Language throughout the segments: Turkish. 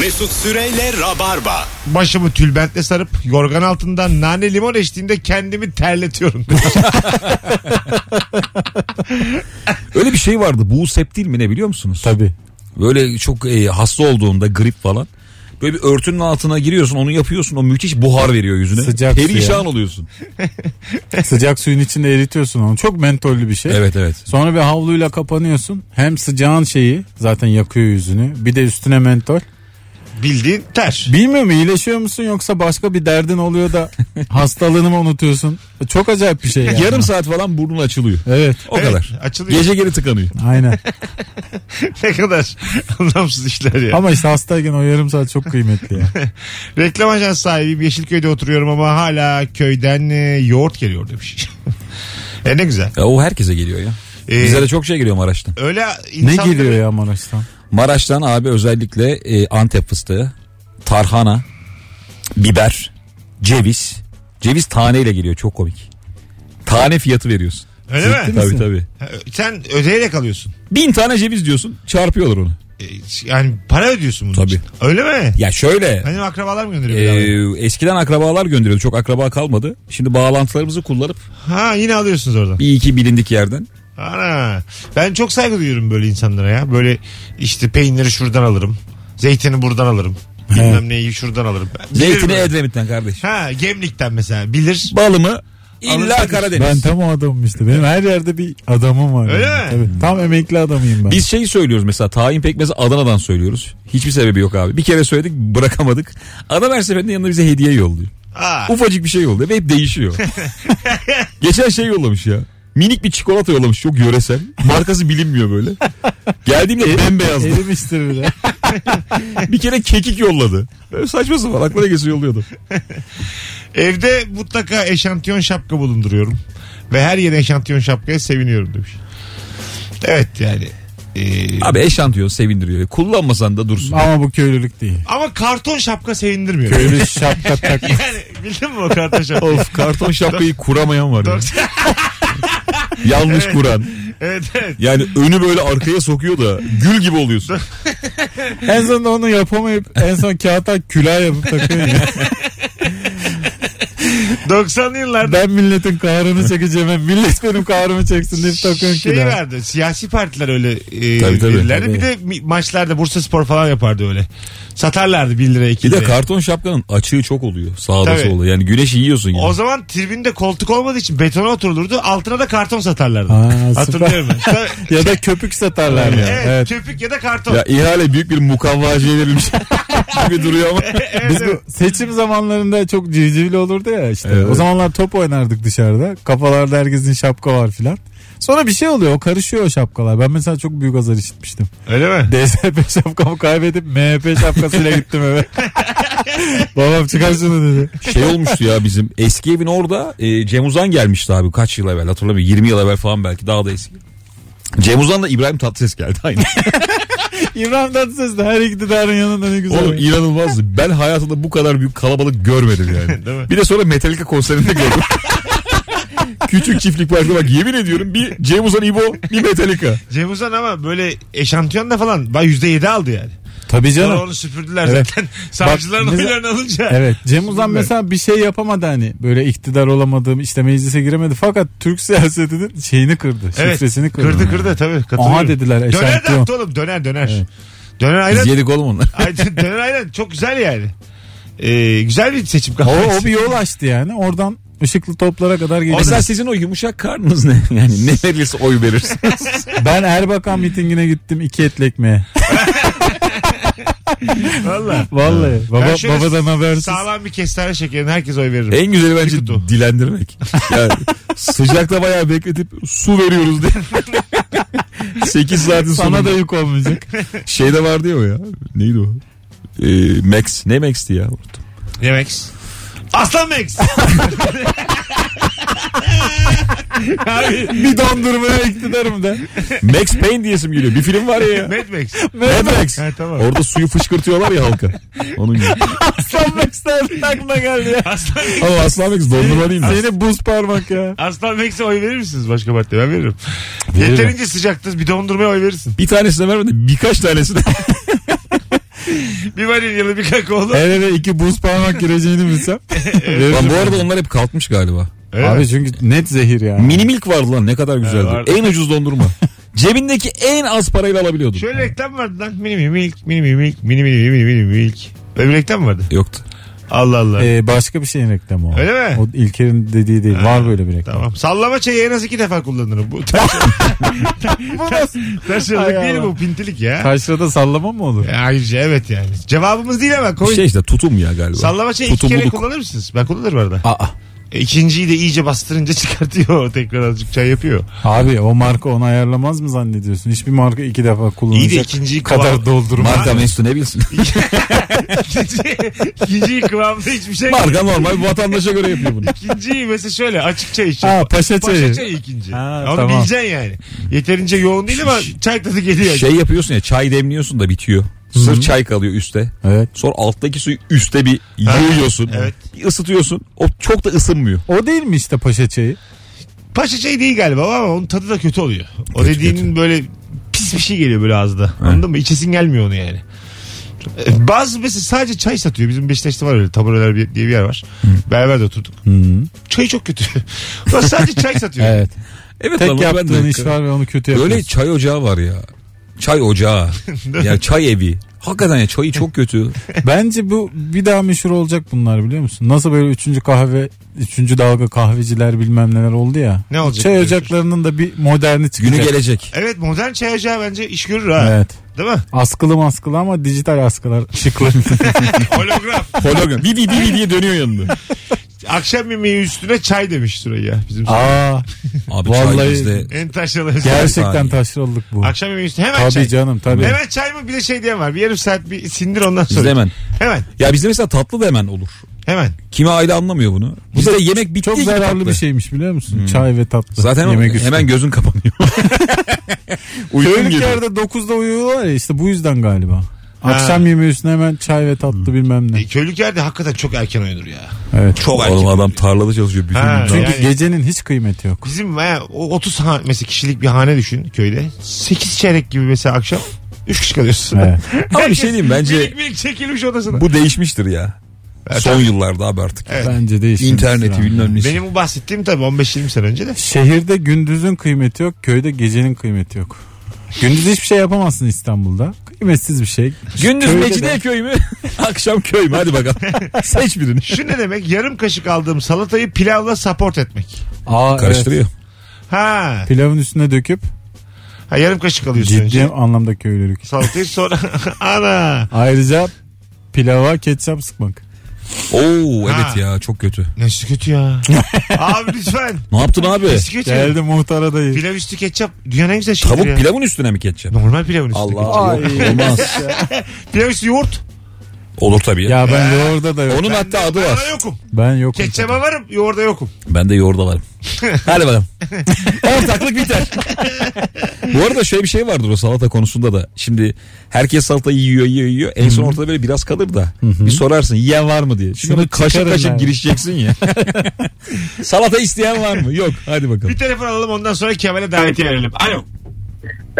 Mesut Süreyle Rabarba. Başımı tülbentle sarıp yorgan altından nane limon eşliğinde kendimi terletiyorum. Öyle bir şey vardı. Bu septil mi ne biliyor musunuz? Tabii. Böyle çok e, hasta olduğunda grip falan. Böyle bir örtünün altına giriyorsun onu yapıyorsun o müthiş buhar veriyor yüzüne. Sıcak suya. Perişan oluyorsun. Sıcak suyun içinde eritiyorsun onu. Çok mentollü bir şey. Evet evet. Sonra bir havluyla kapanıyorsun. Hem sıcağın şeyi zaten yakıyor yüzünü. Bir de üstüne mentol. Bildiğin ter. Bilmiyorum iyileşiyor musun yoksa başka bir derdin oluyor da hastalığını mı unutuyorsun? Çok acayip bir şey yani. Yarım saat falan burnun açılıyor. Evet. O kadar. Açılıyor. Gece geri tıkanıyor. Aynen. ne kadar anlamsız işler ya. Ama işte hastayken o yarım saat çok kıymetli ya. Reklam ajans sahibiyim. Yeşilköy'de oturuyorum ama hala köyden e, yoğurt geliyor demiş. e ne güzel. Ya o herkese geliyor ya. Ee, Bize de çok şey geliyor Maraş'tan. Öyle ne insanları geliyor ya Maraş'tan? Maraş'tan abi özellikle e, Antep fıstığı, tarhana, biber, ceviz. Ceviz taneyle geliyor çok komik. Tane fiyatı veriyorsun. Öyle mi? Tabii tabii. Ha, Sen ödeyerek alıyorsun. Bin tane ceviz diyorsun çarpıyorlar onu. E, Yani para ödüyorsun bunun Tabii. için. Öyle mi? Ya şöyle Benim akrabalar mı gönderiyor? birader? e, eskiden akrabalar gönderiyordu çok akraba kalmadı. Şimdi bağlantılarımızı kullanıp Ha yine alıyorsunuz oradan. bir iki bilindik yerden. Ana. Ben çok saygı duyuyorum böyle insanlara ya. Böyle işte peyniri şuradan alırım. Zeytini buradan alırım. Bilmem neyi şuradan alırım. Bilirim Zeytini ben. Edremit'ten kardeş. Ha Gemlik'ten mesela bilir. Balımı illa Anlatırız. Karadeniz. Ben tam o adamım işte. Benim her yerde bir adamım var. Öyle yani. mi? Tabii, tam emekli adamıyım ben. Biz şeyi söylüyoruz mesela tayin pekmezi Adana'dan söylüyoruz. Hiçbir sebebi yok abi. Bir kere söyledik bırakamadık. Adam her seferinde yanına bize hediye yolluyor. Aa, Ufacık bir şey yolluyor ve hep değişiyor. Geçen şey yollamış ya. Minik bir çikolata yollamış çok yöresel. Markası bilinmiyor böyle. Geldiğimde bembeyazdı. e, Erimiştir bile. bir kere kekik yolladı. Böyle saçma sapan aklına gelse yolluyordu. evde mutlaka eşantiyon şapka bulunduruyorum. Ve her yere eşantiyon şapkaya seviniyorum demiş. Evet yani. Ee, Abi eşantiyon sevindiriyor. Kullanmasan da dursun. Ama bu köylülük değil. ama karton şapka sevindirmiyor. Köylü şapka takma. yani bildin mi o karton şapka? of karton şapkayı kuramayan var ya. Yanlış kuran. evet evet. Yani önü böyle arkaya sokuyor da gül gibi oluyorsun. en sonunda onu yapamayıp en son kağıta külah yapıp takıyor. ya. 90'lı yıllarda ben milletin kahrını çekeceğime millet benim kahrımı çeksin deyip takıyorum şey külah. vardı. Siyasi partiler öyle e, Tabii, tabii. verirlerdi. Tabii. Bir de mi- maçlarda Bursa Spor falan yapardı öyle. Satarlardı 1 lira 2 Bir lira. de karton şapkanın açığı çok oluyor sağda Tabii. solda. Yani güneşi yiyorsun yani. O zaman tribünde koltuk olmadığı için betona oturulurdu. Altına da karton satarlardı. Aa, süper. Hatırlıyorum ben. Tabii. Ya da köpük satarlar ya. evet, Evet. köpük ya da karton. Ya ihale büyük bir mukavvacıya verilmiş gibi duruyor ama. şey Biz bu seçim zamanlarında çok civcivli olurdu ya işte. Evet. O zamanlar top oynardık dışarıda. Kafalarda herkesin şapka var filan. Sonra bir şey oluyor. O karışıyor o şapkalar. Ben mesela çok büyük azar işitmiştim. Öyle mi? DSP şapkamı kaybedip MHP şapkasıyla gittim eve. Babam çıkar şunu dedi. Şey olmuştu ya bizim eski evin orada e, Cem Uzan gelmişti abi kaç yıl evvel hatırlamıyorum 20 yıl evvel falan belki daha da eski. Cem Uzan da İbrahim Tatlıses geldi aynı. İbrahim Tatlıses de her iktidarın yanında ne güzel. Oğlum inanılmazdı. Ben hayatımda bu kadar büyük kalabalık görmedim yani. Değil mi? Bir de sonra Metallica konserinde gördüm. Küçük çiftlik parkta bak yemin ediyorum bir Cem Uzan İbo bir Metallica. Cem Uzan ama böyle eşantiyonda falan bay %7 aldı yani. Tabii Sonra canım. onu süpürdüler Evet. zaten. Savcıların mesela- oylarını alınca. Evet Cem Uzan Süper. mesela bir şey yapamadı hani böyle iktidar olamadım işte meclise giremedi fakat Türk siyasetinin şeyini kırdı Evet. şifresini kırdı. Kırdı kırdı tabii. Katılıyorum. Aha dediler Döner de eşantiyon. attı oğlum döner döner. Döner Biz ayran. yedik oğlum onları. Ay, döner ayran çok güzel yani. Ee, güzel bir seçim O, kampanyası. o bir yol açtı yani oradan ışıklı toplara kadar Mesela geliyor. sizin o yumuşak karnınız ne? Yani ne verirse oy verirsiniz. Ben Erbakan mitingine gittim iki etli ekmeğe. Valla. Vallahi Ben baba, şöyle babadan habersiz. Sağlam bir kestane şekerine herkes oy verir. en güzeli bence Bir kutu. dilendirmek. Yani sıcakta bayağı bekletip su veriyoruz diye. 8 saatin Sana sonunda. da yük olmayacak. Şeyde vardı ya o ya. Neydi o? Ee, Max. Ne Max'ti ya? Unuttum. Yemex. Aslan Max. Abi bir dondurmaya iktidarım da. Max Payne diyesim geliyor. Bir film var ya. Mad Max. Mad Max. Ha, tamam. Orada suyu fışkırtıyorlar ya halka. Onun gibi. Aslan Max'ten aklına geldi ya. Aslan, Ama Aslan Max dondurma değil mi? Seni buz parmak ya. Aslan Max'e oy verir misiniz başka partiye? Ben veririm. Veririm. Yeterince sıcaktır bir dondurmaya oy verirsin. Bir tanesine vermedi birkaç tanesine. bir vanilyalı bir kakaolu. El ele iki buz parmak gireceğini bilsem. Lan verirdim. bu arada onlar hep kalkmış galiba. Evet. Abi çünkü net zehir yani. Mini milk vardı lan ne kadar güzeldi. vardı. en ucuz dondurma. Cebindeki en az parayla alabiliyordun. Şöyle reklam vardı lan. Mini mini milk, mini mini milk, mini mini mini mini milk. Öyle bir reklam mı vardı. Yoktu. Allah Allah. Ee, başka bir şeyin reklamı o. Öyle mi? O İlker'in dediği değil. Var böyle bir reklam. Tamam. Sallama çayı en az iki defa kullanırım. Bu ters, ters, ters yıllık Hay değil Allah. bu pintilik ya. Taşrada sallama mı olur? Ya Ayrıca evet yani. Cevabımız değil ama Bir koy. şey işte tutum ya galiba. Sallama çayı iki Tutumluluk. kere kullanır mısınız? Ben kullanırım arada. Aa, E, İkinciyi de iyice bastırınca çıkartıyor. Tekrar azıcık çay yapıyor. Abi o marka onu ayarlamaz mı zannediyorsun? Hiçbir marka iki defa İyi de kullanacak ikinciyi kadar kıvam... doldurma. marka Mesut ne bilsin? ikinciyi kıvamda hiçbir şey marka normal bir vatandaşa göre yapıyor bunu. İkinciyi mesela şöyle açık çay içiyor. Ha paşa çayı. Paşa çayı ikinci. Ha, Onu tamam. bileceksin yani. Yeterince yoğun değil ama çay tadı geliyor. Şey yapıyorsun ya çay demliyorsun da bitiyor. Sırf çay kalıyor üstte. Evet. Sonra alttaki suyu üstte bir Ha, yığıyorsun. evet. Bir ısıtıyorsun. O çok da ısınmıyor. O değil mi işte paşa çayı? Paşa çayı değil galiba o ama onun tadı da kötü oluyor. O Kötü, dediğinin kötü. böyle pis bir şey geliyor böyle ağızda. Anladın mı? İçesin gelmiyor onu yani. E, Bazı mesela sadece çay satıyor. Bizim Beşiktaş'ta var öyle tabureler bir- diye bir yer var. Beraber de oturduk. Çayı çok kötü. Ulan sadece çay satıyor. Evet. Evet Tek yaptığın iş var ve onu kötü hani yapıyorsun. Böyle çay ocağı var ya. Çay ocağı. ya çay evi. Hakikaten ya çayı çok kötü. Bence bu bir daha meşhur olacak bunlar biliyor musun? Nasıl böyle üçüncü kahve, üçüncü dalga kahveciler bilmem neler oldu ya. Ne olacak Çay diyorsun? ocaklarının da bir moderni çıkacak. Günü gelecek. Evet modern çay ocağı bence iş görür ha. Evet. Değil mi? Askılı maskılı ama dijital askılar şıklı. Holograf. Hologram. Bir bir bir bir diye dönüyor yanında. Akşam yemeği üstüne çay demiş Süreyya. Bizim Aa Abi çay Vallahi- bizde. en taşralı. gerçekten taşrallık bu. Akşam yemeği üstüne hemen Tabii çay. canım tabii. Hemen çay mı bir de şey diyen var. Bir yarım saat bir sindir ondan sonra. Bizde hemen. Hemen. Ya bizde mesela tatlı da hemen olur. Hemen. Kimi aile anlamıyor bunu. Bizde yemek bittiği Çok gibi zararlı tatlı. bir şeymiş biliyor musun? Çay ve tatlı. Zaten yemek üstü. hemen gözün kapanıyor. Uykum Köylük geliyor. yerde 9'da uyuyorlar ya işte bu yüzden galiba. Akşam yemeği üstüne hemen çay ve tatlı bilmem ne. E, köylük yerde hakikaten çok erken uyunur ya. Evet. Çok erken. Oğlum adam tarlada çalışıyor bütün Ha, gün. Çünkü Yani- gecenin hiç kıymeti yok. Bizim e, o 30 hane, mesela kişilik bir hane düşün köyde. 8 çeyrek gibi mesela akşam 3 kişi kalıyorsun. Evet. Ama bir şey diyeyim bence Minik minik çekilmiş odasına. bu değişmiştir ya. Son yıllarda abi artık. Evet. Bence değişmiş. İnterneti yani. bilmem nesi. Benim bu bahsettiğim tabii 15-20 sene önce de. Şehirde gündüzün kıymeti yok, köyde gecenin kıymeti yok. Gündüz hiçbir şey yapamazsın İstanbul'da. Kıymetsiz bir şey. Gündüz Köyde Mecidiye de- köy mü? Akşam köy mü? Hadi bakalım. Seç birini. Şu ne demek? Yarım kaşık aldığım salatayı pilavla support etmek. Aa, evet. Karıştırıyor. Ha, Pilavın üstüne döküp ha yarım kaşık alıyorsun ciddi önce. anlamda köylülük. Salatayı sonra ana. Ayrıca pilava ketçap sıkmak. Oo evet Ha. ya çok kötü. Nesi kötü ya? Abi lütfen. Ne yaptın abi? Nesi kötü? Geldi muhtara dayı. Pilav üstü ketçap dünyanın en güzel şeyidir Tavuk ya. pilavın üstüne mi ketçap? Normal pilavın üstü. ketçap. Allah yok, olmaz. Pilav üstü yoğurt. Olur tabii. Ya. Ya ben yoğurda da yok. Ee, Onun hatta adı Ben var. yokum. Ben yokum. Ketçaba varım yoğurda yokum. Ben de yoğurda varım. Hadi bakalım. Ortaklık biter. Bu arada şöyle bir şey vardır o salata konusunda da. Şimdi herkes salatayı yiyor yiyor yiyor. En son ortada böyle biraz kalır da. Bir sorarsın yiyen var mı diye. Şimdi Şunu onu kaşık çıkarın kaşık abi. girişeceksin ya. Salata isteyen var mı? Yok. Hadi bakalım. Bir telefon alalım ondan sonra Kemal'e davetiye verelim. Alo.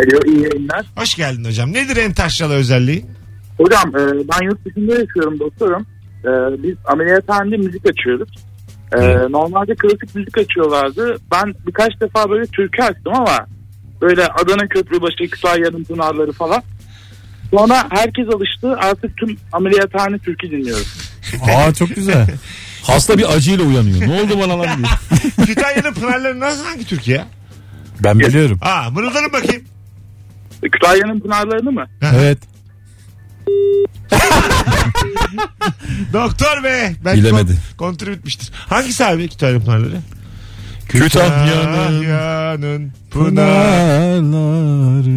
Alo iyi yayınlar. Hoş geldin hocam. Nedir en taşralı özelliği? Hocam e, ben yurt dışında yaşıyorum dostlarım. E, biz ameliyathanede müzik açıyoruz. E, normalde klasik müzik açıyorlardı. Ben birkaç defa böyle türkü açtım ama böyle Adana Köprübaşı, Kütahya'nın pınarları falan. Sonra herkes alıştı. Artık tüm ameliyathane türkü dinliyoruz. Aa çok güzel. Hasta bir acıyla uyanıyor. Ne oldu bana lan diyor. Kütahya'nın pınarları nasıl hangi Türkiye? Ben biliyorum. Aa mırıldanın bakayım. E, Kütahya'nın pınarlarını mı? Evet. Doktor be. Ben Bilemedi. Kon- kontrol bitmiştir. Hangisi abi Kütahya'nın pınarları? Ah, Kütahya'nın Kütahya'nın pınarı. Pınarları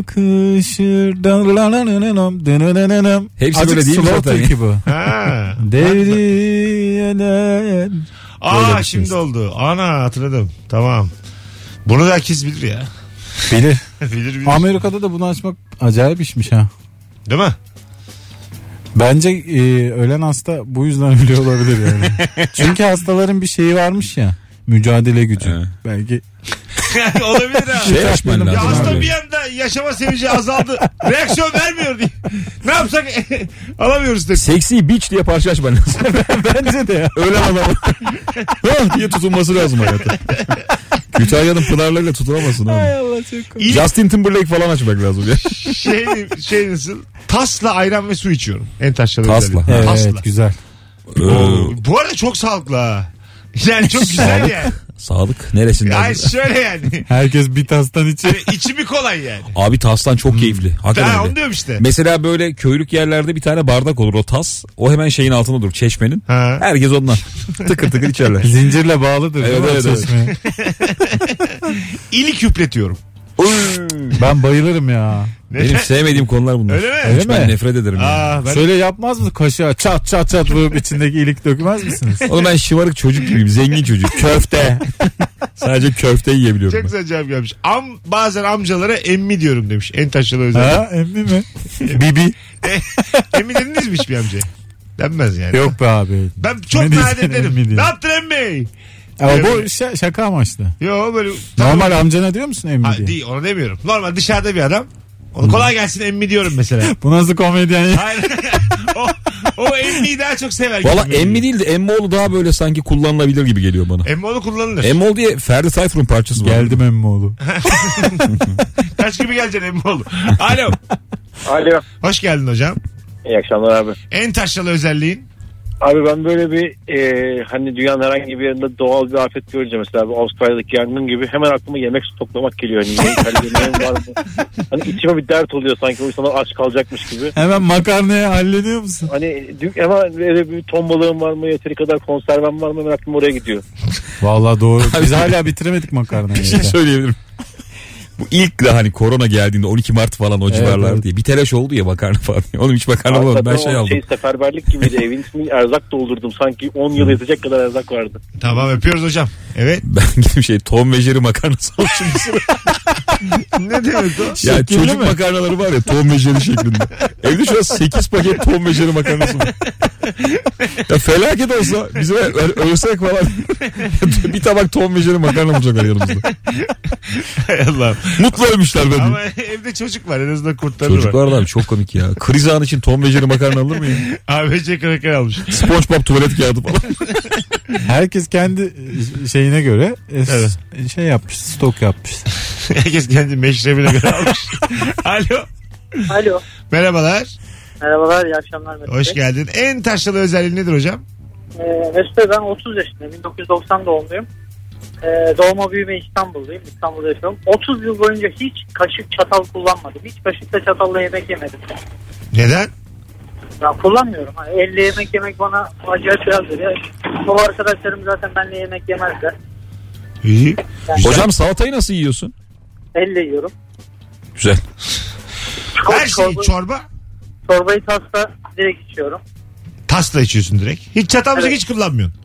akışır. Hepsi böyle değil mi zaten? Slow bu. Ha. Devriyeler. Böyle Aa bir şimdi şey. oldu. Ana hatırladım. Tamam. Bunu da herkes bilir ya. Bilir. bilir bilir. Amerika'da da bunu açmak acayip işmiş ha. Değil mi? Bence e, ölen hasta bu yüzden öyle olabilir yani. Çünkü hastaların bir şeyi varmış ya. Mücadele gücü. Evet. Belki Olabilir ha. şey açman Ya Ya lazım hasta bir abi. yanda yaşama sevinci azaldı. Reaksiyon vermiyor diye. alsak alamıyoruz tepki. Seksi bitch diye parça açman lazım. Bence de ya. Öyle adamı. Hah diye tutunması lazım hayata. Kütahya'nın pınarlarıyla tutunamazsın oğlum. Allah çok komik. İyi. Justin Timberlake falan açmak lazım ya. şey, şey nasıl? Tasla ayran ve su içiyorum. En taşralı Tasla. özelliği. Evet Tasla. güzel. Oo, Bu arada çok sağlıklı ha. Yani çok güzel yani. Sadık neresinden? Ay şöyle yani. Herkes bir tastan içiyor. Hani içimi kolay yani. Abi taslan çok keyifli. Hakikaten Ha, öyle. onu diyorum işte. Mesela böyle köylük yerlerde bir tane bardak olur o tas. O hemen şeyin altında durur çeşmenin. Ha. Herkes ondan tıkır tıkır içerler. Zincirle bağlıdır. Evet, değil mi evet, o evet. çeşme? İli küpletiyorum. Ben bayılırım ya. Benim sevmediğim konular bunlar. Öyle mi? Hiç Öyle ben mi? nefret ederim. yani. Aa, ben Şöyle yapmaz mısın kaşığa çat çat çat vurup içindeki ilik dökmez misiniz? Oğlum ben şımarık çocuk gibiyim. Zengin çocuk. Köfte. Sadece köfte çok yiyebiliyorum. güzel cevap gelmiş. Am, bazen amcalara emmi diyorum demiş. En taşralı özelliği. ha emmi mi? Bibi. emmi dediniz mi hiçbir amcaya? Denmez yani. Yok be abi. Ben çok Ne diyeceksin nadir derim. emmi diye. Ne yaptın emmi? Ama bu şa- şaka amaçlı. Yo böyle. Normal amcana diyor musun emmi Ha, diye? değil onu demiyorum. Normal dışarıda bir adam. Ona kolay gelsin emmi diyorum mesela. Bu nasıl komedyen ya? Hayır. o, o emmiyi daha çok sever. Valla gibi. emmi değil de emmoğlu daha böyle sanki kullanılabilir gibi geliyor bana. Emmi onu kullanılır. Emmoğlu diye Ferdi Tayfur'un parçası var. Geldim emmi oğlu. Taş gibi geleceksin emmi oğlu. Alo. Alo. Hoş geldin hocam. İyi akşamlar abi. En taşralı özelliğin. Abi ben böyle bir e, hani dünyanın herhangi bir yerinde doğal bir afet görünce mesela bir Avustralya'daki yangın gibi hemen aklıma yemek stoklamak geliyor. Hani, yemek halinde var mı? hani içime bir dert oluyor sanki o insanlar aç kalacakmış gibi. Hemen makarnaya hallediyor musun? Hani dü- hemen böyle bir ton balığım var mı yeteri kadar konservem var mı hemen aklım oraya gidiyor. Vallahi doğru. Biz Abi- hala bitiremedik makarnayı. Bir şey söyleyebilirim. Bu ilk de hani korona geldiğinde 12 Mart falan o civarlar evet. diye bir telaş oldu ya makarna falan. Oğlum hiç makarna bulamadım Hakikaten ben şey o aldım. şey seferberlik gibiydi. Evin ismi erzak doldurdum. Sanki 10 yıl yetecek kadar erzak vardı. Tamam öpüyoruz hocam. Evet. Ben gidip şey Tom ve Jerry makarnası almışım. ne demek o? ya Şekilli çocuk mi? makarnaları var ya Tom ve Jerry şeklinde. Evde şu an 8 paket Tom ve Jerry makarnası var. ya felaket olsa bize ö- ölsek falan bir tabak Tom ve Jerry makarna bulacaklar yanımızda. Hay Allah'ım. Mutlu ölmüşler ben. diyeyim. Ama evde çocuk var en azından kurtarır Çocuk var. var da abi çok komik ya. Kriz anı için Tom ve Jerry makarna alır mı ya? ABC kraker almış. SpongeBob tuvalet kağıdı falan. Herkes kendi şeyine göre e, s- şey yapmış, stok yapmış. Herkes kendi meşrebine göre almış. Alo. Alo. Merhabalar. Merhabalar, iyi akşamlar. Mesut Hoş Bey. geldin. En taşralı özelliği nedir hocam? Ee, Mesut Bey, ben 30 yaşındayım. 1990 doğumluyum. Ee, doğma büyüme İstanbulluyum. İstanbul'da yaşıyorum. 30 yıl boyunca hiç kaşık çatal kullanmadım. Hiç kaşıkla çatalla yemek yemedim. Neden? Ya kullanmıyorum. Hani elle yemek yemek bana acayip biraz geliyor. O arkadaşlarım zaten benimle yemek yemezler. İyi. Hocam salatayı nasıl yiyorsun? Elle yiyorum. Güzel. Her şey Çorba- çorba. çorbayı tasla direkt içiyorum. Tasla içiyorsun direkt. Hiç çatal bıçak Evet. hiç kullanmıyorsun.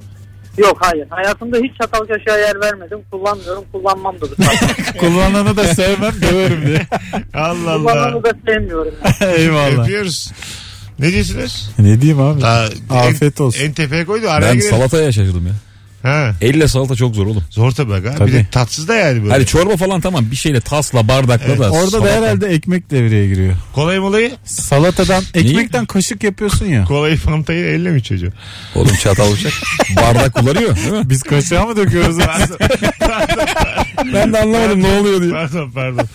Yok hayır. Hayatımda hiç çatal kaşığa yer vermedim. Kullanmıyorum. Kullanmam da. Kullananı da sevmem döverim diye. Allah Allah. Kullanmamı da sevmiyorum. Eyvallah. Öpüyoruz. Ne diyorsunuz? Ne diyeyim abi? Daha Afiyet olsun. En tepeye koydu. Araya Ben girelim. salataya şaşırdım ya. Ha, Elle salata çok zor oğlum. zor tabii bak. ha. Tabii. Bir de tatsız da yani böyle. Hani çorba falan tamam bir şeyle tasla bardakla da. Orada da salata. herhalde ekmek devreye giriyor. Kolay molayı. Salatadan ekmekten kaşık yapıyorsun ya. Kolayı fantayı elle mi çocuğu? Oğlum çatal bıçak. bardak kullanıyor değil mi? Biz kaşığa mı döküyoruz? Pardon, Ben de anlamadım ne oluyor diye. pardon, pardon.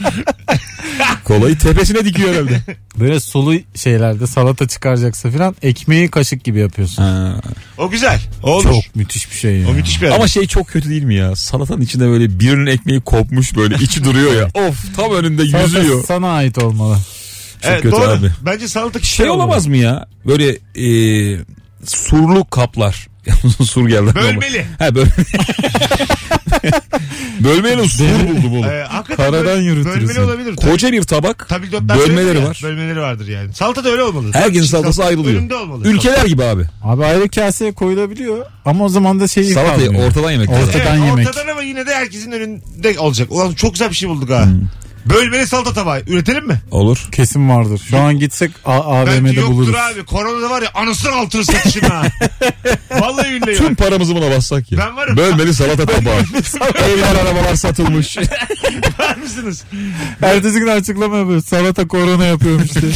Kolayı tepesine dikiyor herhalde. Böyle sulu şeylerde salata çıkaracaksa filan ekmeği kaşık gibi yapıyorsun. Ha. O güzel. O olur. Çok müthiş bir şey ya. O müthiş bir adam. Ama şey çok kötü değil mi ya? Salatanın içinde böyle birinin ekmeği kopmuş böyle içi duruyor ya. Of tam önünde Salata yüzüyor. sana ait olmalı. Evet, kötü doğru. abi. Bence salata kişi Şey olamaz mı ya? Böyle e, surlu kaplar. Yalnız sur geldi. aklıma. Bölmeli. Ha böl... Bölmeyle sur buldum oğlum. Ee, hakikaten Karadan böl- yürütürüz Bölmeli yani. olabilir. Koca bir tabak. Tabii dotlar Bölmeleri söyledim ya, var. Bölmeleri vardır yani. Salata da öyle olmalı. Herkesin Salata- salatası ayrılıyor. Önünde olmalı. Ülkeler gibi abi. Abi ayrı kaseye koyulabiliyor ama o zaman da şey Salatayı kalmıyor. ortadan yemek Orta- lazım. Evet, ortadan yemek. Hmm. Ortadan ama yine de herkesin önünde olacak. Ulan çok güzel bir şey bulduk ha. Bölmeli salata tabağı. Üretelim mi? Olur. Kesin vardır. Şu an gitsek A- Bence AVM'de yoktur buluruz. abi. Koronada var ya anasını altını satışım ha. Vallahi billahi. Tüm bak. paramızı buna bassak ya. Ben varım. Bölmeli salata tabağı. Evler arabalar satılmış. Var mısınız? Ertesi gün açıklama yapıyor. Salata korona yapıyormuş diye.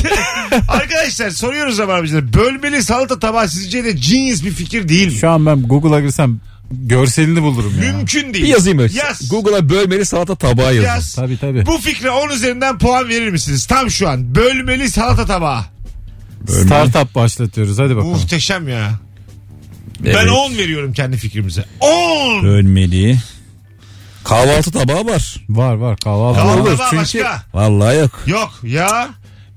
Arkadaşlar soruyoruz ama abicilere. Bölmeli salata tabağı sizce de genius bir fikir değil mi? Şu an ben Google'a girsem görselini bulurum ya. Mümkün değil. Bir yazayım öyle. Yaz. Google'a bölmeli salata tabağı yazın. Yaz. Tabii tabii. Bu fikre 10 üzerinden puan verir misiniz? Tam şu an. Bölmeli salata tabağı. Startup başlatıyoruz. Hadi bakalım. Muhteşem ya. Ben Evet. 10 veriyorum kendi fikrimize. 10. Bölmeli. Kahvaltı tabağı var. Var var kahvaltı. Kahvaltı var. tabağı başka. Vallahi yok. Yok ya.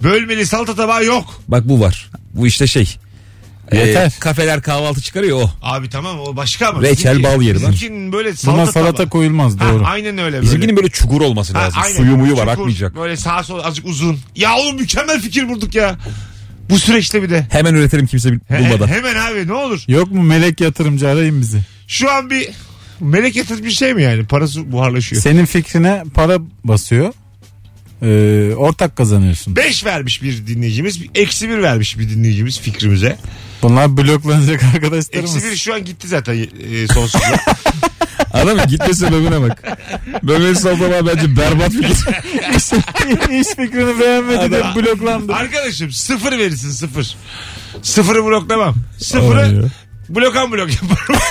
Bölmeli salata tabağı yok. Bak bu var. Bu işte şey. Ee, Yeter. kafeler kahvaltı çıkarıyor o. Abi tamam o başka mı? Reçel bal yeri var. Bizimkinin böyle salata, Buna salata tabağı. koyulmaz Ha, doğru. aynen öyle böyle. Bizimkinin böyle çukur olması Ha, lazım. aynen. Suyu muyu var Çukur, akmayacak. Böyle sağa sola azıcık uzun. Ya oğlum mükemmel fikir bulduk ya. Bu süreçte bir de. Hemen üretelim kimse bil- He- bulmadan. hemen abi ne olur. Yok mu melek yatırımcı arayın bizi. Şu an bir melek yatırmış bir şey mi yani? Parası buharlaşıyor. Senin fikrine para basıyor. Ee, ortak kazanıyorsun. 5 vermiş bir dinleyicimiz. Eksi 1 vermiş bir dinleyicimiz fikrimize. Bunlar bloklanacak Eksi arkadaşlarımız. 1 şu an gitti zaten e, sonsuzluğa. Adamın gitme sebebine bak. Bölmeli salata tabağı bence berbat bir İş fikrini beğenmedi de bloklandı. Arkadaşım sıfır verirsin sıfır. Sıfırı bloklamam. Sıfırı blokan blok yaparım.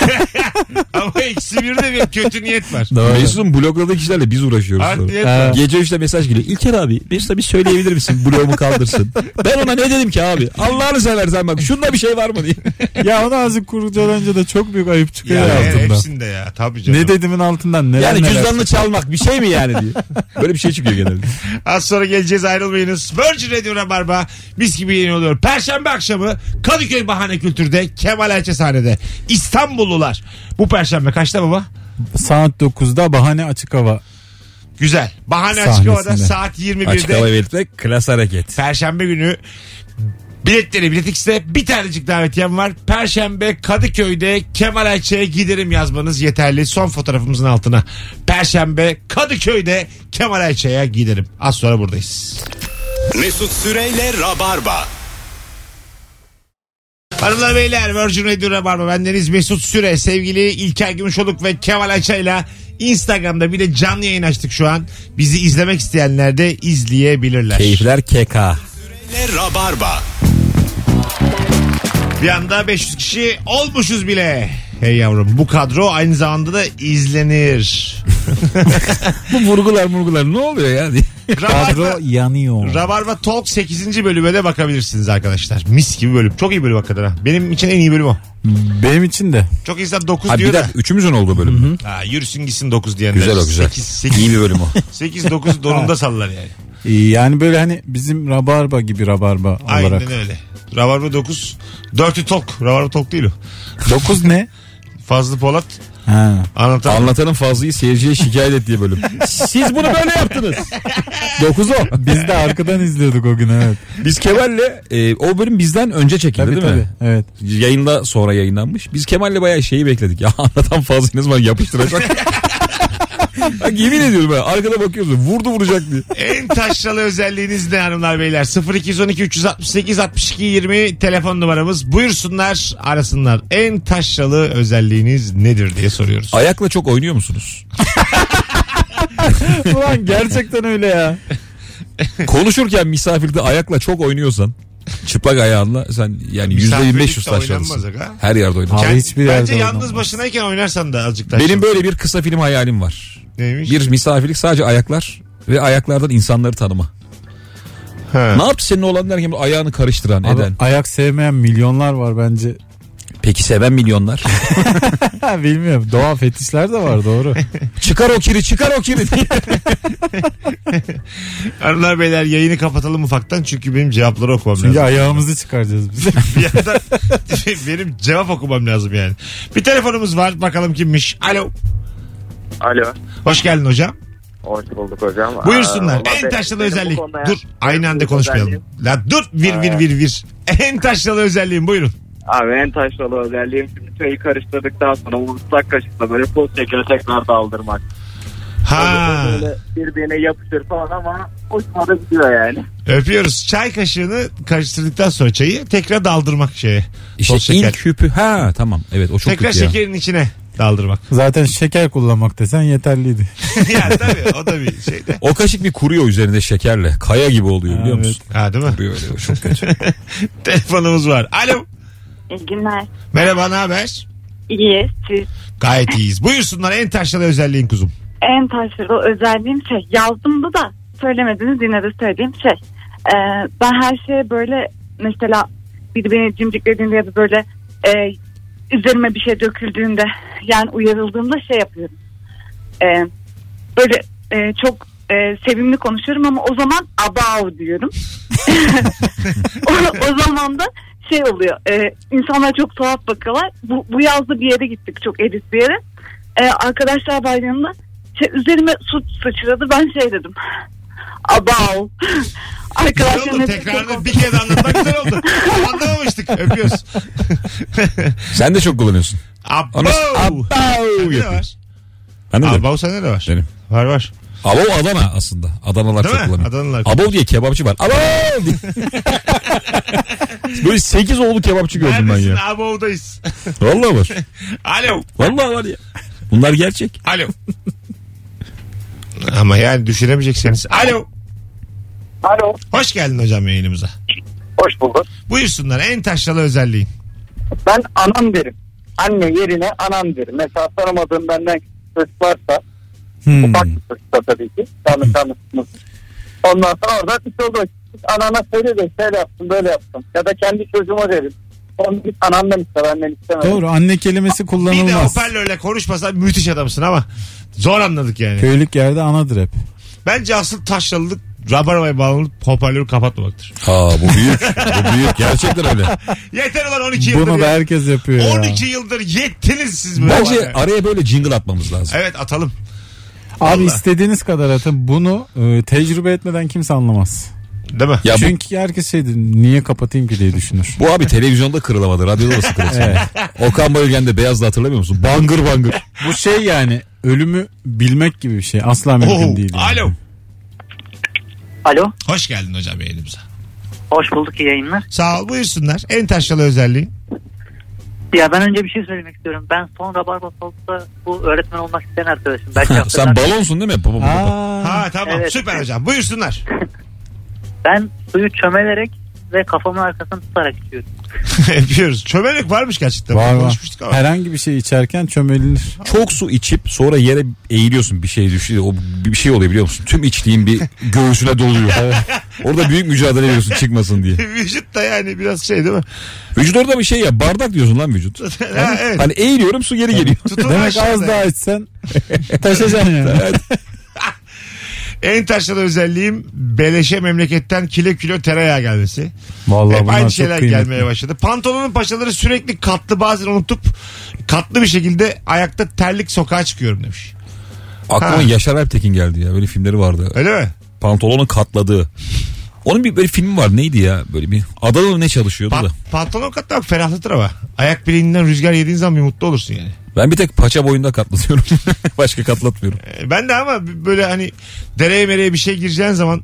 Ama eksi birde bir kötü niyet var. Mesut'un blokladığı kişilerle biz uğraşıyoruz. Art sonra. niyet var. Gece 3'te mesaj geliyor. İlker abi Mesut'a bir söyleyebilir misin? Bloğumu kaldırsın. Ben ona ne dedim ki abi? Allah'ını seversen bak şunda bir şey var mı diye. ya onu azıcık kurcalanınca da çok büyük ayıp Ya, e, çıkıyor altından. hepsinde ya tabii canım. Ne dediğimin altından neler Yani neler. cüzdanını çalmak bir şey mi yani diye. Böyle bir şey çıkıyor genelde. Az sonra geleceğiz ayrılmayınız. Virgin Radio Rabarba mis gibi yeni oluyor. Perşembe akşamı Kadıköy Bahane Kültür'de Kemal Ayça sahnede. İstanbullular. Bu perşembe kaçta baba? Saat 9'da bahane açık hava. Güzel. Bahane açık havada Sahnesinde. saat 21'de. Açık hava belirtmek klas hareket. Perşembe günü biletleri Bilet X'de bir tanecik davetiyem var. Perşembe Kadıköy'de Kemal Ayça'ya giderim yazmanız yeterli. Son fotoğrafımızın altına. Perşembe Kadıköy'de Kemal Ayça'ya giderim. Az sonra buradayız. Mesut Süreyle Rabarba. Hanımlar beyler Virgin Radio Rabarba bendeniz Mesut Süre sevgili İlker Gümüşoluk ve Kemal Ayça'yla Instagram'da bir de canlı yayın açtık şu an. Bizi izlemek isteyenler de izleyebilirler. Keyifler keka. Süreyle Rabarba. Bir anda 500 kişi olmuşuz bile. Hey yavrum bu kadro aynı zamanda da izlenir. Bu vurgular murgular ne oluyor ya diye. Kadro Rabarba, yanıyor. Rabarba Talk 8. bölüme de bakabilirsiniz arkadaşlar. Mis gibi bölüm. Çok iyi bölüm hakikaten. ha. Benim için en iyi bölüm o. Benim için de. Çok insan 9 Ha, bir diyor da. dakika üçümüzün olduğu bölüm. mü? Ha, yürüsün gitsin 9 diyenler. Güzel o güzel. 8, İyi bir bölüm o. 9 donunda sallar yani. Ee, Yani böyle hani bizim rabarba gibi rabarba olarak. Aynen öyle. Rabarba 9. 4'ü Talk. Rabarba Talk değil o. 9 ne? Fazlı Polat Ha. anlatan. Anlatanın fazlayı seyirciye şikayet ettiği bölüm. Siz bunu böyle yaptınız. 9 o. Biz de arkadan izliyorduk o gün evet. Biz Kemal'le e, o bölüm bizden önce çekildi Tabii değil tabii. mi? Evet. Yayında sonra yayınlanmış. Biz Kemal'le bayağı şeyi bekledik. Ya anlatan fazla ne zaman yapıştıracak. Bak yemin ediyorum ben arkada bakıyorsun vurdu vuracak diye. En taşralı özelliğiniz ne hanımlar beyler? 0212 368 62 20 telefon numaramız. Buyursunlar arasınlar. En taşralı özelliğiniz nedir diye soruyoruz. Ayakla çok oynuyor musunuz? Ulan gerçekten öyle ya. Konuşurken misafirde ayakla çok oynuyorsan çıplak ayağınla sen yani %25 Misafirlikte ustaşlarısın. oynanmaz aga. Her yerde oynar. Abi Kend- hiçbir yerde Bence yalnız oynanmaz. başınayken oynarsan da azıcık taşralı. Benim böyle bir kısa film hayalim var. Neymiş? Bir misafirlik sadece ayaklar ve ayaklardan insanları tanıma. Ha. Ne yaptı senin oğlan derken böyle ayağını karıştıran Abi eden. ayak sevmeyen milyonlar var bence. Peki seven milyonlar. Ha, bilmiyorum. Doğa fetişler de var doğru. çıkar o kiri çıkar o kiri. Hanımlar beyler yayını kapatalım ufaktan çünkü benim cevapları okumam Çünkü lazım. ayağımızı çıkaracağız biz. bir yandan benim cevap okumam lazım yani. Bir telefonumuz var bakalım kimmiş. Alo. Alo. Hoş geldin hocam. Hoş bulduk hocam. Buyursunlar. Ee, en vallahi taşralı benim bu özellik. konuda Dur aynı anda konuşmayalım. La dur vir vir vir vir. En taşralı özelliğim buyurun. Abi en taşralı özelliğim şimdi çayı karıştırdıktan sonra o ıslak kaşıkla böyle poz tekrar tekrar daldırmak. Ha. Böyle birbirine yapışır falan ama hoşuma da gidiyor yani. Öpüyoruz. Çay kaşığını karıştırdıktan sonra çayı tekrar daldırmak şeye. İşte Toz şeker. ilk hüpü. Ha tamam. Evet o çok tekrar kötü ya. şekerin içine daldırmak. Zaten şeker kullanmak desen yeterliydi. ya tabii o da bir şey de. O kaşık bir kuruyor üzerinde şekerle. Kaya gibi oluyor biliyor musun? Ha değil mi? Kuruyor öyle. O Çok kötü. Telefonumuz var. Alo. İyi günler. Merhaba ne haber? İyi siz. Gayet iyiyiz. Buyursunlar en taşralı özelliğin kuzum. En taşırı özelliğim şey yazdımdı da söylemediniz yine de söyleyeyim şey. Ee, ben her şeye böyle mesela biri beni cimciklediğinde ya da böyle e, üzerime bir şey döküldüğünde yani uyarıldığımda şey yapıyorum. Ee, böyle e, çok e, sevimli konuşuyorum ama o zaman abav diyorum. o, o zaman da şey oluyor. E, insanlar çok tuhaf bakıyorlar. Bu, bu yazda bir yere gittik çok elit bir yere. E, arkadaşlar bayramında şey, üzerime su sıçradı. Ben şey dedim. Abav. Güzel oldu. Arkadaşlarım Tekrarını bir kez anlatmak güzel oldu. Anlamamıştık. Öpüyoruz. Sen de çok kullanıyorsun. Ama Abbav. abav Ne yapıyor. var? Ben de biliyorum. Abbav sende de var. Benim. Var var. Abav Adana aslında. Adanalar Değil çok mi? kullanıyor. Adanalar. Abav diye kebapçı var. Abav diye. Böyle 8 oğlu kebapçı gördüm ben Neredesin? ya. Abbav'dayız. Vallahi var. Alo. Vallahi var ya. Bunlar gerçek. Alo. Ama yani düşünemeyecekseniz. Alo. Alo. Hoş geldin hocam yayınımıza. Hoş bulduk. Buyursunlar en taşralı özelliğin. Ben anam derim. Anne yerine anam derim. Mesela tanımadığım benden küçük çocuk varsa Hmm. ufak bir çocuk da tabii ki. Tanı tanısınız. Ondan sonra orada bir şey olur. Git Anana söyle de şöyle yaptım böyle yaptım. Ya da kendi çocuğuma derim. Onu git anandan iste benden istemedim. Doğru anne kelimesi Bir de kullanılmaz. hoparlörle konuşmasan müthiş adamsın ama zor anladık yani. Köylük yerde anadır hep. Bence asıl taşralılık rabarbaya bağlanıp hoparlörü kapatmamaktır. Ha bu büyük. bu büyük. Gerçekten öyle. Yeter ulan 12 yıldır. Bunu da ya. herkes yapıyor ya. 12 yıldır yettiniz siz böyle. Bence bana. araya böyle jingle atmamız lazım. Evet atalım. Abi Allah. istediğiniz kadar atın. Bunu e, tecrübe etmeden kimse anlamaz. Değil mi? Ya bu- Çünkü herkes şey diyor, niye kapatayım ki diye düşünür. Bu abi televizyonda kırılamadı. Radyoda da sıkılır. Evet. Okan Bayülgen'de Beyaz'da hatırlamıyor musun? Bangır bangır. Bu şey yani ölümü bilmek gibi bir şey. Asla mümkün Oho. değil. yani. Alo. Alo. Hoş geldin hocam yayınımıza. Hoş bulduk iyi yayınlar. Sağ ol buyursunlar. En taşralı özelliği. Ya ben önce bir şey söylemek istiyorum. Ben son Rabarba Saltı'da bu öğretmen olmak isteyen arkadaşım. Belki Ha, Sen hatırlarsın. balonsun değil mi? Baba, baba, baba. Aa, Ha tamam Evet. süper hocam buyursunlar. Ben suyu çömelerek ve kafamın arkasını tutarak içiyorum. Yapıyoruz. Çömelek varmış gerçekten. var var. Konuşmuştuk ama. Herhangi bir şey içerken çömelinir. Çok su içip sonra yere eğiliyorsun bir şey düşüyor. O bir şey oluyor biliyor musun? Tüm içtiğin bir göğsüne doluyor. Orada büyük mücadele ediyorsun çıkmasın diye. Vücut da yani biraz şey değil mi? Vücut orada bir şey ya bardak diyorsun lan vücut. ha, evet. Hani eğiliyorum su geri geliyor. Tutun Demek az aşağıda. daha içsen taşacaksın yani. En taşralı özelliğim beleşe memleketten kilo kilo tereyağı gelmesi. Vallahi Hep bunlar aynı çok şeyler kıymetli. gelmeye başladı. Pantolonun paçaları sürekli katlı bazen unutup katlı bir şekilde ayakta terlik sokağa çıkıyorum demiş. Aklıma Ha. Yaşar Alptekin geldi ya. Böyle filmleri vardı. Öyle mi? Pantolonu katladığı. Onun bir böyle filmi var neydi ya böyle bir adada mı ne çalışıyordu Pa- da. pantolon katlamak ferahlatır ama. Ayak bileğinden rüzgar yediğin zaman bir mutlu olursun yani. Ben bir tek paça boyunda katlatıyorum. Başka katlatmıyorum. Ee, Ben de ama böyle hani dereye mereye bir şey gireceğin zaman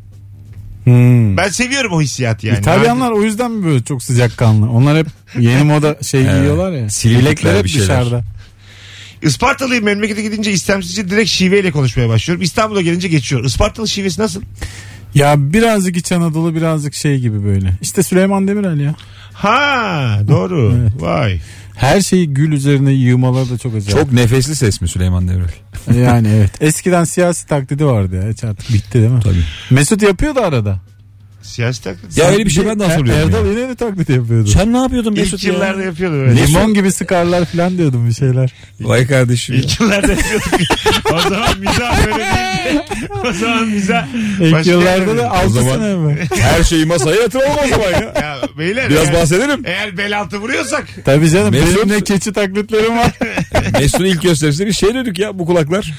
Hmm. ben seviyorum o hissiyatı yani. İtalyanlar o yüzden mi böyle çok sıcakkanlı? Onlar hep yeni moda şey giyiyorlar ya. Silikler, Bilekler hep bir şeyler. dışarıda. Ispartalıyım memlekete gidince istemsizce direkt şiveyle konuşmaya başlıyorum. İstanbul'a gelince geçiyor. Ispartalı şivesi nasıl? Ya birazcık İç Anadolu birazcık şey gibi böyle. İşte Süleyman Demirel ya. Ha doğru. Evet. Vay. Her şeyi gül üzerine yığmaları da çok acayip. Çok nefesli ses mi Süleyman Demirel? Yani evet. Eskiden siyasi taklidi vardı ya. Hiç artık bitti değil mi? Tabii. Mesut yapıyordu arada. Siyasi taklit. Ya öyle bir şey ben de hatırlıyorum. ya. Erdal İnönü taklit yapıyordu. Sen ne yapıyordun İlk Mesut ya? yıllarda yapıyordum öyle. Limon gibi sıkarlar falan diyordum bir şeyler. Vay kardeşim. İlk yıllarda yapıyorduk. o zaman mizah böyle değildi. O zaman mizah. İlk başka yıllarda yerlerde. da altı zaman- sene mi? Her şeyi masaya yatıralım o zaman ya. Ya beyler. Biraz eğer, bahsedelim. eğer bel altı vuruyorsak. Tabii canım Mesut- benim ne keçi taklitlerim var. Mesut'un ilk gösterisinde bir şey dedik ya bu kulaklar.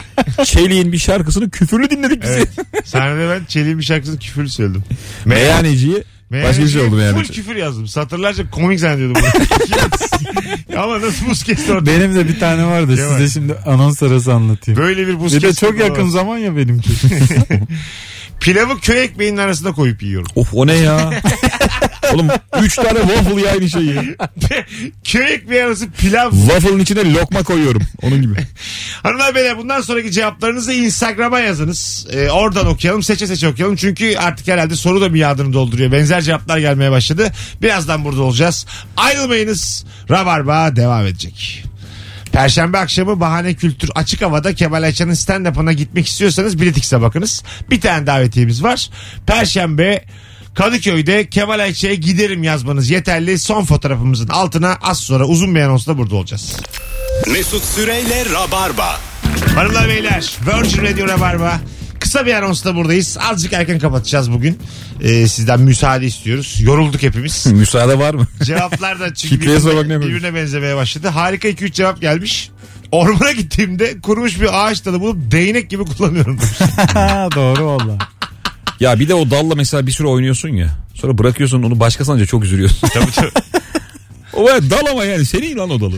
Çeliğin bir şarkısını küfürlü dinledik biz. Evet. Sahnede ben Çelik'in bir şarkısını küfürlü söyledim. Meğer Meyhaneciyi Meğer Başka bir şey oldu yani. Full küfür yazdım. Satırlarca komik zannediyordum. bunu. Ama nasıl buz kesti orada. Benim de bir tane var da Kemal. size şimdi anons arası anlatayım. Böyle bir buz bir de kesti çok yakın olamaz. zaman ya benimki. Pilavı köy ekmeğinin arasına koyup yiyorum. Of o ne ya? Oğlum 3 tane waffle ya aynı şey ya. köy ekmeği arası pilav. Waffle'ın içine lokma koyuyorum. Onun gibi. Hanımlar beyler bundan sonraki cevaplarınızı Instagram'a yazınız. Ee, oradan okuyalım seçe seçe okuyalım. Çünkü artık herhalde soru da miadını dolduruyor. Benzer cevaplar gelmeye başladı. Birazdan burada olacağız. Ayrılmayınız. Rabarba devam edecek. Perşembe akşamı Bahane Kültür açık havada Kemal Ayça'nın stand-up'ına gitmek istiyorsanız biletikse bakınız. Bir tane davetiyemiz var. Perşembe Kadıköy'de Kemal Ayça'ya giderim yazmanız yeterli. Son fotoğrafımızın altına az sonra uzun bir anonsla burada olacağız. Mesut Süreyle Rabarba. Hanımlar beyler Virgin Radio Rabarba. Kısa bir anonsla buradayız. Azıcık erken kapatacağız bugün. Ee, sizden müsaade istiyoruz. Yorulduk hepimiz. Müsaade var mı? Cevaplar da çünkü Kitleye sormak ne birbirine, böyle? birbirine benzemeye başladı. Harika 2-3 cevap gelmiş. Ormana gittiğimde kurumuş bir ağaç dalı bulup değnek gibi kullanıyorum. Ha, Doğru valla. Ya bir de o dalla mesela bir süre oynuyorsun ya. Sonra bırakıyorsun onu başka sanca çok üzülüyorsun. tabii tabii. o böyle dal ama yani senin lan o dalı.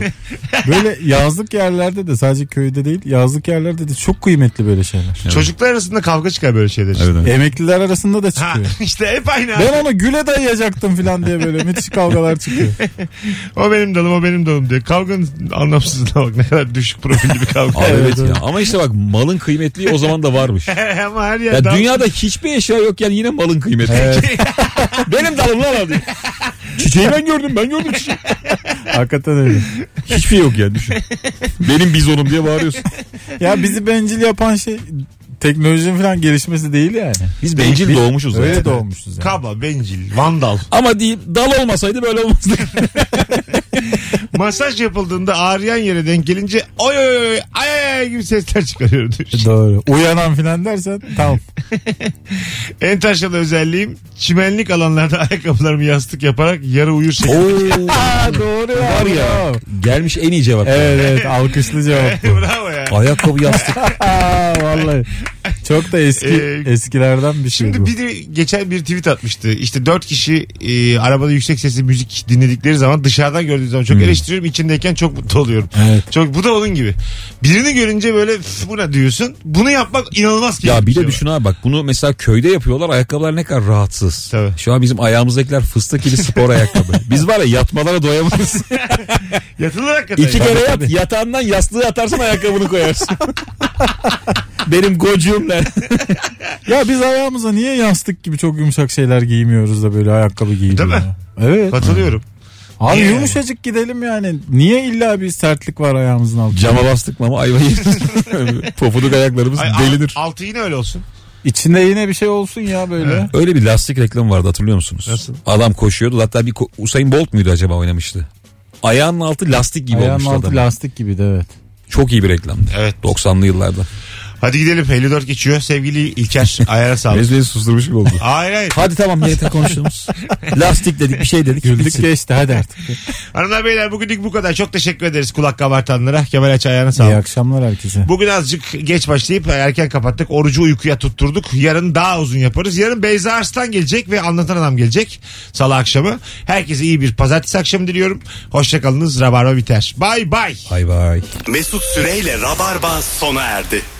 Böyle yazlık yerlerde de sadece köyde değil yazlık yerlerde de çok kıymetli böyle şeyler. Çocuklar arasında kavga çıkar böyle şeyler. Işte. Evet. Emekliler arasında da Ha, çıkıyor. işte hep aynı. abi. Ben onu güle dayayacaktım falan diye böyle müthiş kavgalar çıkıyor. O benim dalım o benim dalım diyor. Kavganın anlamsızlığına bak ne kadar düşük profilli bir kavga. Abi evet, evet. ya. Ama işte bak malın kıymetliği o zaman da varmış. Ama her Ya yerde dünyada hiçbir eşya yokken yine malın kıymetli. Benim dalım lan hadi. Çiçeği ben gördüm ben gördüm çiçeği. Hakikaten öyle. Hiçbir şey yok yani düşün. Benim bizonum diye bağırıyorsun. Ya bizi bencil yapan şey teknolojinin falan gelişmesi değil yani. Biz bencil doğmuşuz Öyle zaten. doğmuşuz yani. kaba, bencil, vandal. Ama diyeyim dal olmasaydı böyle olmazdı. Masaj yapıldığında ağrıyan yere denk gelince oy oy oy ay ay ay gibi sesler çıkarıyor diyor. Doğru. Uyanan falan dersen tamam. En taşralı özelliğim çimenlik alanlarda ayakkabılarımı yastık yaparak yarı uyur şekilde. Aa, doğru ya. Var ya. Gelmiş en iyi cevap. Evet evet alkışlı cevap bu. Bravo ya. Ayakkabı yastık. Aa, vallahi. Çok da eski Ee, eskilerden bir şey Şimdi bu. bir de geçen bir tweet atmıştı. İşte dört kişi e, arabada yüksek sesli müzik dinledikleri zaman dışarıdan gördüğü zaman Hmm. çok eleştiriyorum. içindeyken çok mutlu oluyorum. Evet. Çok bu da onun gibi. Birini görünce böyle "Üf, bu ne diyorsun. Bunu yapmak inanılmaz keyifli. ya bir de şey düşün abi bak bunu mesela köyde yapıyorlar ayakkabılar ne kadar rahatsız. Tabii. Şu an bizim ayağımızdakiler fıstık gibi spor ayakkabı. Biz var ya yatmalara doyamayız. var. Yatılı hakikaten. İki ya. kere yat yatağından yastığı atarsın ayakkabını koyarsın. Benim gocuğum ne? Ya biz ayağımıza niye yastık gibi çok yumuşak şeyler giymiyoruz da böyle ayakkabı giyiyoruz? Değil mi? Evet. Katılıyorum. Abi Niye? yumuşacık gidelim yani. Niye illa bir sertlik var ayağımızın altında? Cama bastık mı ama ayva yeriz. Pofuduk ayaklarımız Ay, al- delinir. altı yine öyle olsun. İçinde yine bir şey olsun ya böyle. Öyle bir lastik reklamı vardı hatırlıyor musunuz? Adam koşuyordu hatta bir ko- Usain Bolt muydu acaba oynamıştı? Ayağının altı lastik gibi Ayağın olmuştu altı adam. lastik gibi de evet. Çok iyi bir reklamdı. Evet. 90'lı yıllarda. Hadi gidelim 54 geçiyor. Sevgili İlker ayağına sağlık. Mezmeyi susturmuş gibi oldu. Hayır hayır. Hadi tamam niyete konuştuğumuz. Lastik dedik bir şey dedik. Güldük bitsin. geçti hadi artık. Hanımlar beyler bugünlük bu kadar. Çok teşekkür ederiz kulak kabartanlara. Kemal Aç ayağına İyi sağlık. akşamlar herkese. Bugün azıcık geç başlayıp erken kapattık. Orucu uykuya tutturduk. Yarın daha uzun yaparız. Yarın Beyza Arslan gelecek ve Anlatan Adam gelecek. Salı akşamı. Herkese iyi bir pazartesi akşamı diliyorum. Hoşçakalınız. Rabarba biter. Bay bay. Bay bay. Mesut Süreyle Rabarba sona erdi.